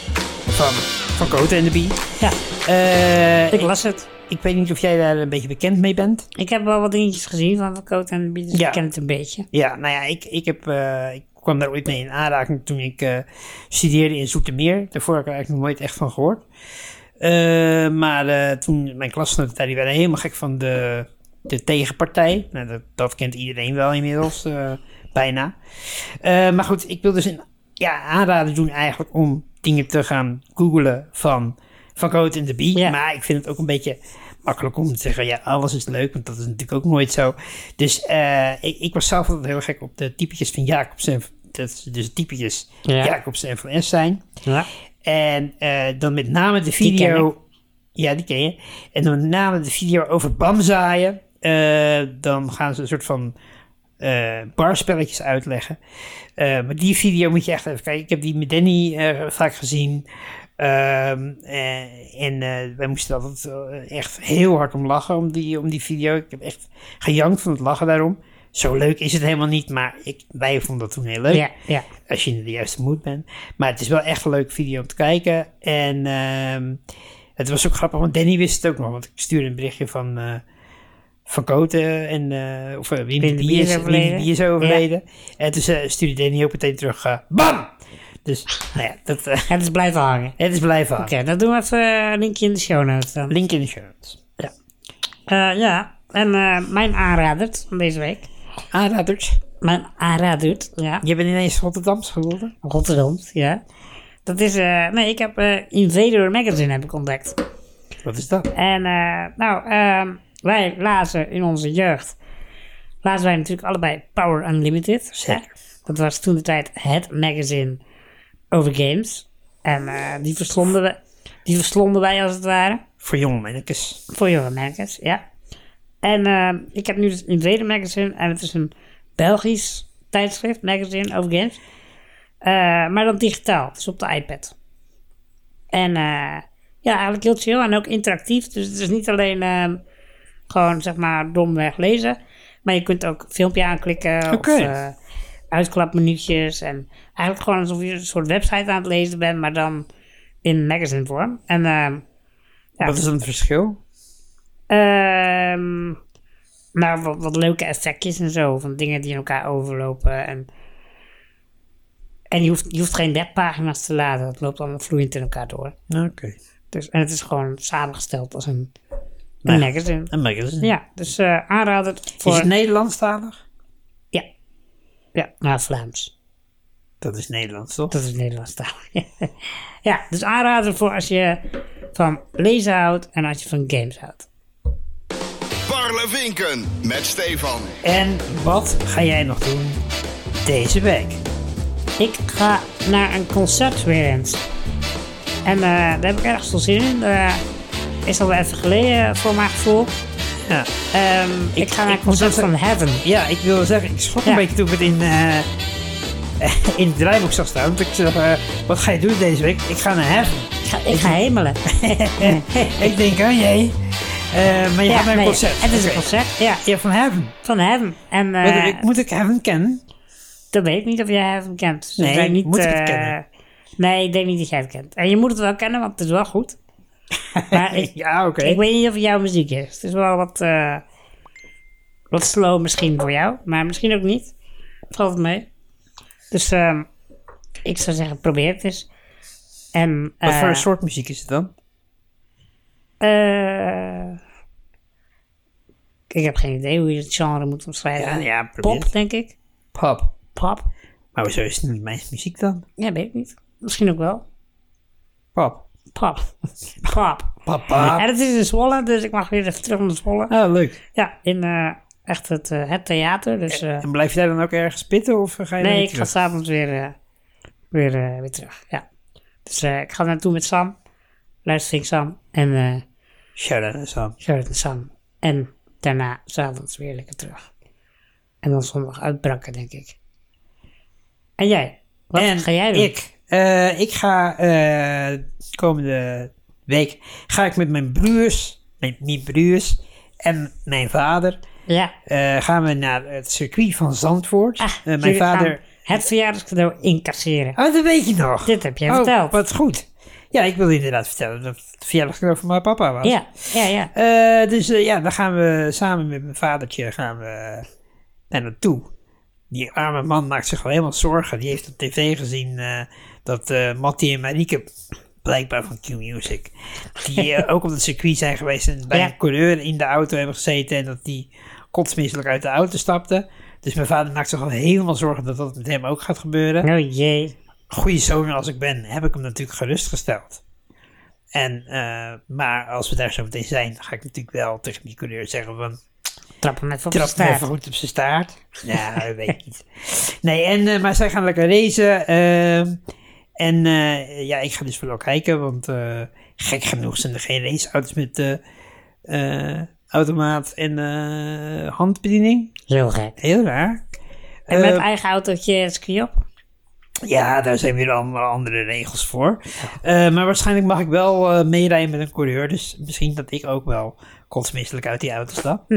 S1: van, van Cote en de Bie.
S2: Ja,
S1: Eh,
S2: ik
S1: ik,
S2: las het.
S1: ik weet niet of jij daar een beetje bekend mee bent.
S2: Ik heb wel wat dingetjes gezien van Van Koot en de Bieden. Dus
S1: Ja.
S2: ik ken het een beetje.
S1: Ja, nou ja, ik, ik, heb, eh, ik kwam daar ooit mee in aanraking toen ik eh, studeerde in Zoetermeer. Daarvoor heb ik er eigenlijk nog nooit echt van gehoord. Eh, maar eh, toen, mijn klasgenoten daar, die werden helemaal gek van de, de tegenpartij. Nou, dat, dat kent iedereen wel inmiddels, eh, bijna. Eh, maar goed, ik wil dus een ja, aanrader doen eigenlijk om dingen te gaan googlen van Van Cote en de Bie.
S2: Ja.
S1: Maar ik vind het ook een beetje makkelijk om te zeggen, ja, alles is leuk, want dat is natuurlijk ook nooit zo. Dus eh, ik, ik was zelf altijd heel gek op de typetjes van Jacobsen. en- Dat ze dus typetjes
S2: Ja.
S1: Jacobsen en Van S zijn.
S2: Ja.
S1: En eh, dan met name de
S2: Die
S1: video. ja, die ken je. En dan met name de video over bamzaaien. Eh, dan gaan ze een soort van eh, barspelletjes uitleggen. Eh, maar die video moet je echt even kijken. Ik heb die met Danny eh, vaak gezien. Ehm, eh, en eh, wij moesten altijd eh, echt heel hard om lachen om die, om die video. Ik heb echt gejankt van het lachen daarom. Zo leuk is het helemaal niet, maar ik, wij vonden dat toen heel leuk
S2: Ja, ja.
S1: als je in de juiste mood bent. Maar het is wel echt een leuke video om te kijken. En ehm, het was ook grappig, want Danny wist het ook nog. Want ik stuurde een berichtje van, eh, van Koten en eh, of eh, Wim de
S2: de
S1: Bier
S2: Bier
S1: is,
S2: is
S1: Wim de
S2: overleden.
S1: Bier is overleden. En toen eh, stuurde Danny ook meteen terug, eh, bam! Dus nou ja, dat, eh,
S2: Het is blijven hangen.
S1: het is blijven hangen.
S2: Oké, dan doen we even eh, een linkje in de show notes dan.
S1: Link in de show notes. Ja.
S2: Eh, ja, en eh, mijn aanrader van deze week.
S1: Aanraders,
S2: Mijn aanrader, ja.
S1: je bent ineens Rotterdams geworden.
S2: Rotterdam, ja. Dat is, eh, nee, ik heb eh, Invader Magazine heb ik ontdekt.
S1: Wat is dat?
S2: En eh, nou, ehm, wij lazen in onze jeugd, lazen wij natuurlijk allebei Power Unlimited.
S1: Zeker.
S2: Dat was toen de tijd het magazine over games. En eh, die, verslonden we, die verslonden wij als het ware.
S1: Voor jonge mannetjes.
S2: Voor jonge merkers, ja. En eh, ik heb nu dus Invader Magazine. En het is een Belgisch tijdschrift, magazine over games. Eh, maar dan digitaal, dus op de iPad. En eh, ja, eigenlijk heel chill en ook interactief. Dus het is niet alleen eh, gewoon, zeg maar, domweg lezen. Maar je kunt ook een filmpje aanklikken
S1: Oké.
S2: of eh uitklapmenuutjes. En eigenlijk gewoon alsof je een soort website aan het lezen bent, maar dan in magazine vorm. En eh, Ja.
S1: Wat is dan het verschil?
S2: Ehm nou, wat, wat leuke effectjes en zo. Van dingen die in elkaar overlopen. En, en je, hoeft, je hoeft geen webpagina's te laden. Dat loopt allemaal vloeiend in elkaar door.
S1: Oké.
S2: Dus, en het is gewoon samengesteld als een, een magazine.
S1: Een magazine.
S2: Ja, dus eh aanraden voor...
S1: Nou Is het Nederlandstalig?
S2: ja. ja, maar Vlaams.
S1: Dat is Nederlands, toch?
S2: Dat is Nederlands taal. ja, dus aanraden voor als je van lezen houdt en als je van games houdt.
S4: Parlevinken met Stefan.
S1: En wat ga jij nog doen deze week?
S2: Ik ga naar een concert weer eens. En eh, daar heb ik erg veel zin in. Eh, is al wel even geleden voor mijn gevoel.
S1: Ja,
S2: Ehm, ik, ga naar
S1: ik
S2: een concert
S1: moet
S2: van Heaven.
S1: ja ik wil zeggen, ik schrok een
S2: Ja.
S1: beetje toen ik het in, eh, in het draaiboek zag staan. Want ik zeg, eh, wat ga je doen deze week? Ik ga naar Heaven.
S2: Ik ga, ik ga hemelen.
S1: ik denk, oh jee. Eh, maar je gaat naar een
S2: nee,
S1: concert.
S2: Het is een
S1: Oké.
S2: concert, ja.
S1: Ja, van Heaven.
S2: Van Heaven. En eh,
S1: Weet ik, moet ik Heaven kennen?
S2: dat weet ik niet of jij Heaven kent. Dus we
S1: Nee,
S2: zijn niet,
S1: moet ik het
S2: eh,
S1: kennen?
S2: Nee, ik denk niet dat jij het kent. En je moet het wel kennen, want het is wel goed. Maar ik,
S1: Ja, oké.
S2: Ik weet niet of het jouw muziek is. Het is wel wat, eh, wat slow misschien voor jou, maar misschien ook niet. Valt het mee. Dus ehm, Ik zou zeggen, probeer het eens. En,
S1: Wat
S2: eh,
S1: voor een soort muziek is het dan?
S2: eh, ik heb geen idee hoe je het genre moet omschrijven.
S1: Ja, ja, probeer
S2: Pop,
S1: het.
S2: denk ik.
S1: Pop.
S2: Pop.
S1: Maar hoezo is het niet mijn muziek dan?
S2: Ja, weet ik niet. Misschien ook wel.
S1: Pop.
S2: Pop. Pop.
S1: Papa.
S2: En het is in Zwolle, dus ik mag weer even terug naar Zwolle.
S1: Ah, leuk.
S2: Ja, in eh, echt het, eh, het theater. Dus, eh,
S1: En blijf jij dan ook ergens pitten of eh, ga je dan
S2: nee,
S1: weer
S2: ik ga
S1: terug?
S2: s'avonds weer, eh, weer, eh, weer terug. Ja. Dus eh, ik ga naartoe met Sam. Luistering Sam. En eh
S1: Shout-out aan Sam.
S2: Gerrit en Sam. En daarna s'avonds weer lekker terug. En dan zondag uitbrakken, denk ik. En jij? Wat
S1: En
S2: ga jij doen?
S1: Ik, eh, ik ga eh, komende week ga ik met mijn broers, mijn, niet broers, en mijn vader
S2: Ja.
S1: eh, gaan we naar het circuit van Zandvoort.
S2: Ah,
S1: Eh, mijn
S2: jullie gaan
S1: vader.
S2: Het verjaardagscadeau incasseren.
S1: Ah, dat weet je nog.
S2: Dit heb jij
S1: oh,
S2: verteld.
S1: Wat goed. Ja, ik wilde inderdaad vertellen dat het verjaardagscadeau van mijn papa was.
S2: Ja, ja, ja.
S1: Eh, dus eh, ja, dan gaan we samen met mijn vadertje gaan we daar naartoe. Die arme man maakt zich al helemaal zorgen. Die heeft op tv gezien eh, dat eh Mattie en Marieke, blijkbaar van Q-Music, die eh, ook op het circuit zijn geweest en bij
S2: Ja.
S1: een coureur in de auto hebben gezeten en dat die kotsmisselijk uit de auto stapte. Dus mijn vader maakt zich al helemaal zorgen dat dat met hem ook gaat gebeuren
S2: Oh jee.
S1: goede zoon als ik ben, heb ik hem natuurlijk gerustgesteld. En, eh, maar als we daar zo meteen zijn, dan ga ik natuurlijk wel tegen die coureur zeggen van...
S2: Trap hem even op de
S1: Trap hem
S2: staart.
S1: even goed op zijn staart. Ja, dat weet ik niet. Nee, en, eh, maar zij gaan lekker racen. ehm, en eh, ja, ik ga dus wel kijken, want eh, gek genoeg zijn er geen raceauto's met eh, eh, automaat en eh, handbediening.
S2: Heel gek.
S1: Heel raar.
S2: En met
S1: Eh,
S2: eigen autootje ski op?
S1: Ja, daar zijn weer allemaal andere regels voor. Eh, maar waarschijnlijk mag ik wel eh, meerijden met een coureur. Dus misschien dat ik ook wel kotsmisselijk uit die auto stap.
S2: Hm.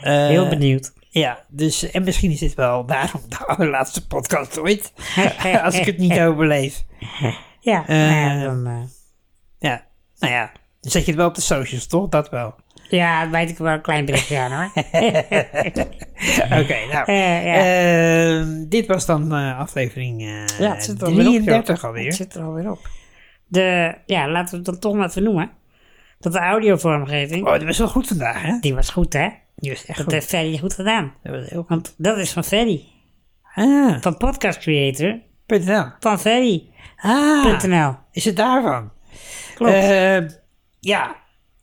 S1: Eh,
S2: Heel benieuwd.
S1: Ja, dus, en misschien is dit wel daarom de allerlaatste podcast ooit. als ik het niet overleef.
S2: Ja,
S1: eh,
S2: nou ja, dan, eh,
S1: Ja, nou ja. Dan zet je het wel op de socials, toch? Dat wel.
S2: ja, dan wijd ik er wel een klein beetje aan hoor.
S1: Oké, nou.
S2: Eh, ja.
S1: ehm, dit was dan eh, aflevering eh,
S2: ja, het zit er alweer op.
S1: 33
S2: joh.
S1: alweer.
S2: Het zit er alweer op. De, ja, laten we het dan toch maar even noemen. Dat de audiovormgeving,
S1: Oh, dat was wel goed vandaag, hè?
S2: die was goed hè?
S1: Die was echt
S2: Dat
S1: goed.
S2: heeft Ferry goed gedaan.
S1: Dat was heel goed.
S2: Want dat is van Ferry.
S1: Ah,
S2: Van Podcast Creator,
S1: punt wel.
S2: van Ferry.nl.
S1: Ah, is het daarvan?
S2: Klopt.
S1: Eh, ja.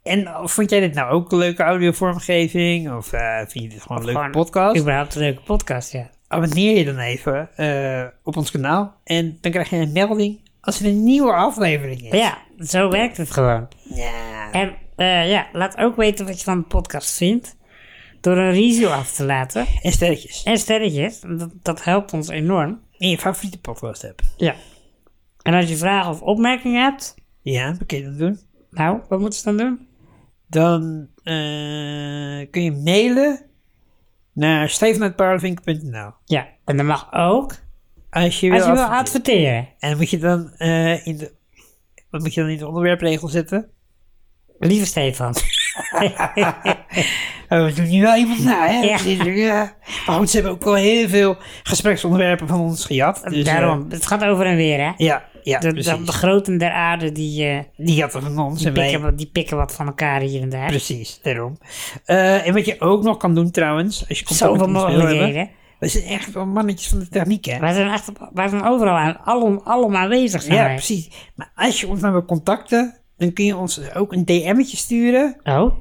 S1: En vond jij dit nou ook een leuke audiovormgeving? Of eh, vind je dit gewoon een leuke
S2: Gewoon
S1: podcast?
S2: Überhaupt een leuke podcast, ja.
S1: Abonneer je dan even eh, op ons kanaal. En dan krijg je een melding als er een nieuwe aflevering is.
S2: Ja, zo werkt het gewoon.
S1: Ja.
S2: En eh, ja, laat ook weten wat je van de podcast vindt. Door een review af te laten.
S1: En sterretjes.
S2: En sterretjes, dat, dat helpt ons enorm.
S1: In je favoriete podcast app.
S2: Ja. En als je vragen of opmerkingen hebt,
S1: Ja, dan kun je dat doen.
S2: nou, wat moeten ze dan doen?
S1: Dan eh, kun je mailen naar steven.parlevink.nl
S2: Ja, en dat mag ook
S1: Als je wil
S2: als je wil
S1: adverteren.
S2: adverteren.
S1: En moet je dan eh, in de... Wat moet je dan in de onderwerpregel zetten?
S2: Lieve Stefan.
S1: Dus, Oh, we doen nu wel iemand na, hè?
S2: Ja.
S1: Ja. eh, Maar goed, ze hebben ook wel heel veel gespreksonderwerpen van ons gejat. Dus, eh,
S2: Daarom, het gaat over en weer, hè?
S1: ja, ja
S2: De,
S1: precies.
S2: de, de groten der aarde, die, eh,
S1: Die jatten van ons en wij...
S2: pikken, wat- die pikken wat van elkaar hier en daar.
S1: Precies, daarom. Eh, en wat je ook nog kan doen trouwens, als je contact
S2: Zoveel
S1: met ons wil hebben...
S2: mogelijkheden.
S1: We zijn echt wel mannetjes van de techniek, hè?
S2: Wij zijn echt op- wij zijn overal aan, alom, alom aanwezig. Zijn
S1: Ja,
S2: wij.
S1: precies. Maar als je ons nou wil contacten, dan kun je ons ook een DM'tje sturen
S2: Oh,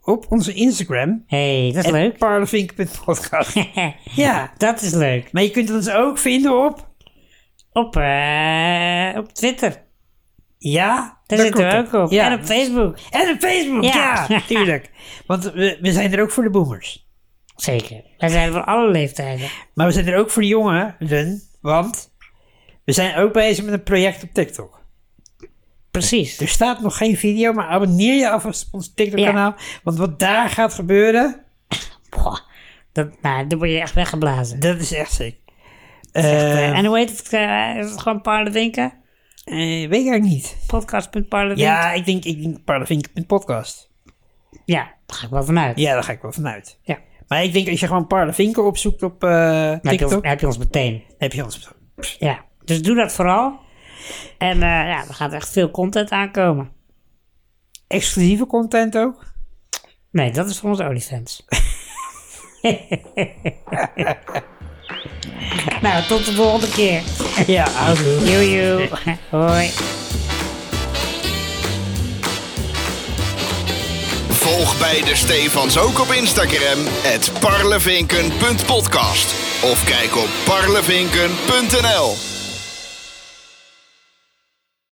S1: op onze Instagram.
S2: hey, dat is leuk.
S1: Parlevink.podcast. ja,
S2: dat is leuk.
S1: maar je kunt ons ook vinden op...
S2: Op, eh, op Twitter.
S1: Ja,
S2: Daar
S1: dat
S2: zitten we
S1: klopt.
S2: ook op.
S1: Ja.
S2: En op Facebook.
S1: En op Facebook, ja,
S2: Ja.
S1: tuurlijk. Want we, we zijn er ook voor de boomers.
S2: Zeker. Wij zijn van alle leeftijden.
S1: Maar we zijn er ook voor de jongeren, want we zijn ook bezig met een project op TikTok.
S2: Precies.
S1: Er staat nog geen video, maar abonneer je alvast op ons TikTok-kanaal. Want wat daar gaat gebeuren,
S2: Boah, dat, nou, dan word je echt weggeblazen.
S1: dat is echt sick.
S2: Eh,
S1: Eh,
S2: en hoe heet het? eh, is het gewoon Parlevinken?
S1: eh, weet ik eigenlijk niet.
S2: Podcast.parlevinken?
S1: Ja, ik denk, ik denk Parlevink met podcast.
S2: ja, daar ga ik wel vanuit.
S1: Ja, daar ga ik wel vanuit.
S2: Ja.
S1: Maar ik denk als je gewoon Parlevinken opzoekt op eh,
S2: Dan heb je, ons,
S1: TikTok,
S2: dan heb je ons meteen.
S1: heb je ons.
S2: Ja. Dus doe dat vooral. En eh, ja, er gaat echt veel content aankomen.
S1: Exclusieve content ook.
S2: Nee, dat is voor onze OnlyFans. nou, tot de volgende keer.
S1: Ja, oudoe.
S2: Joe, joe. Hoi.
S4: Volg bij de Stefans ook op Instagram. Het parlevinken.podcast. Of kijk op parlevinken.nl.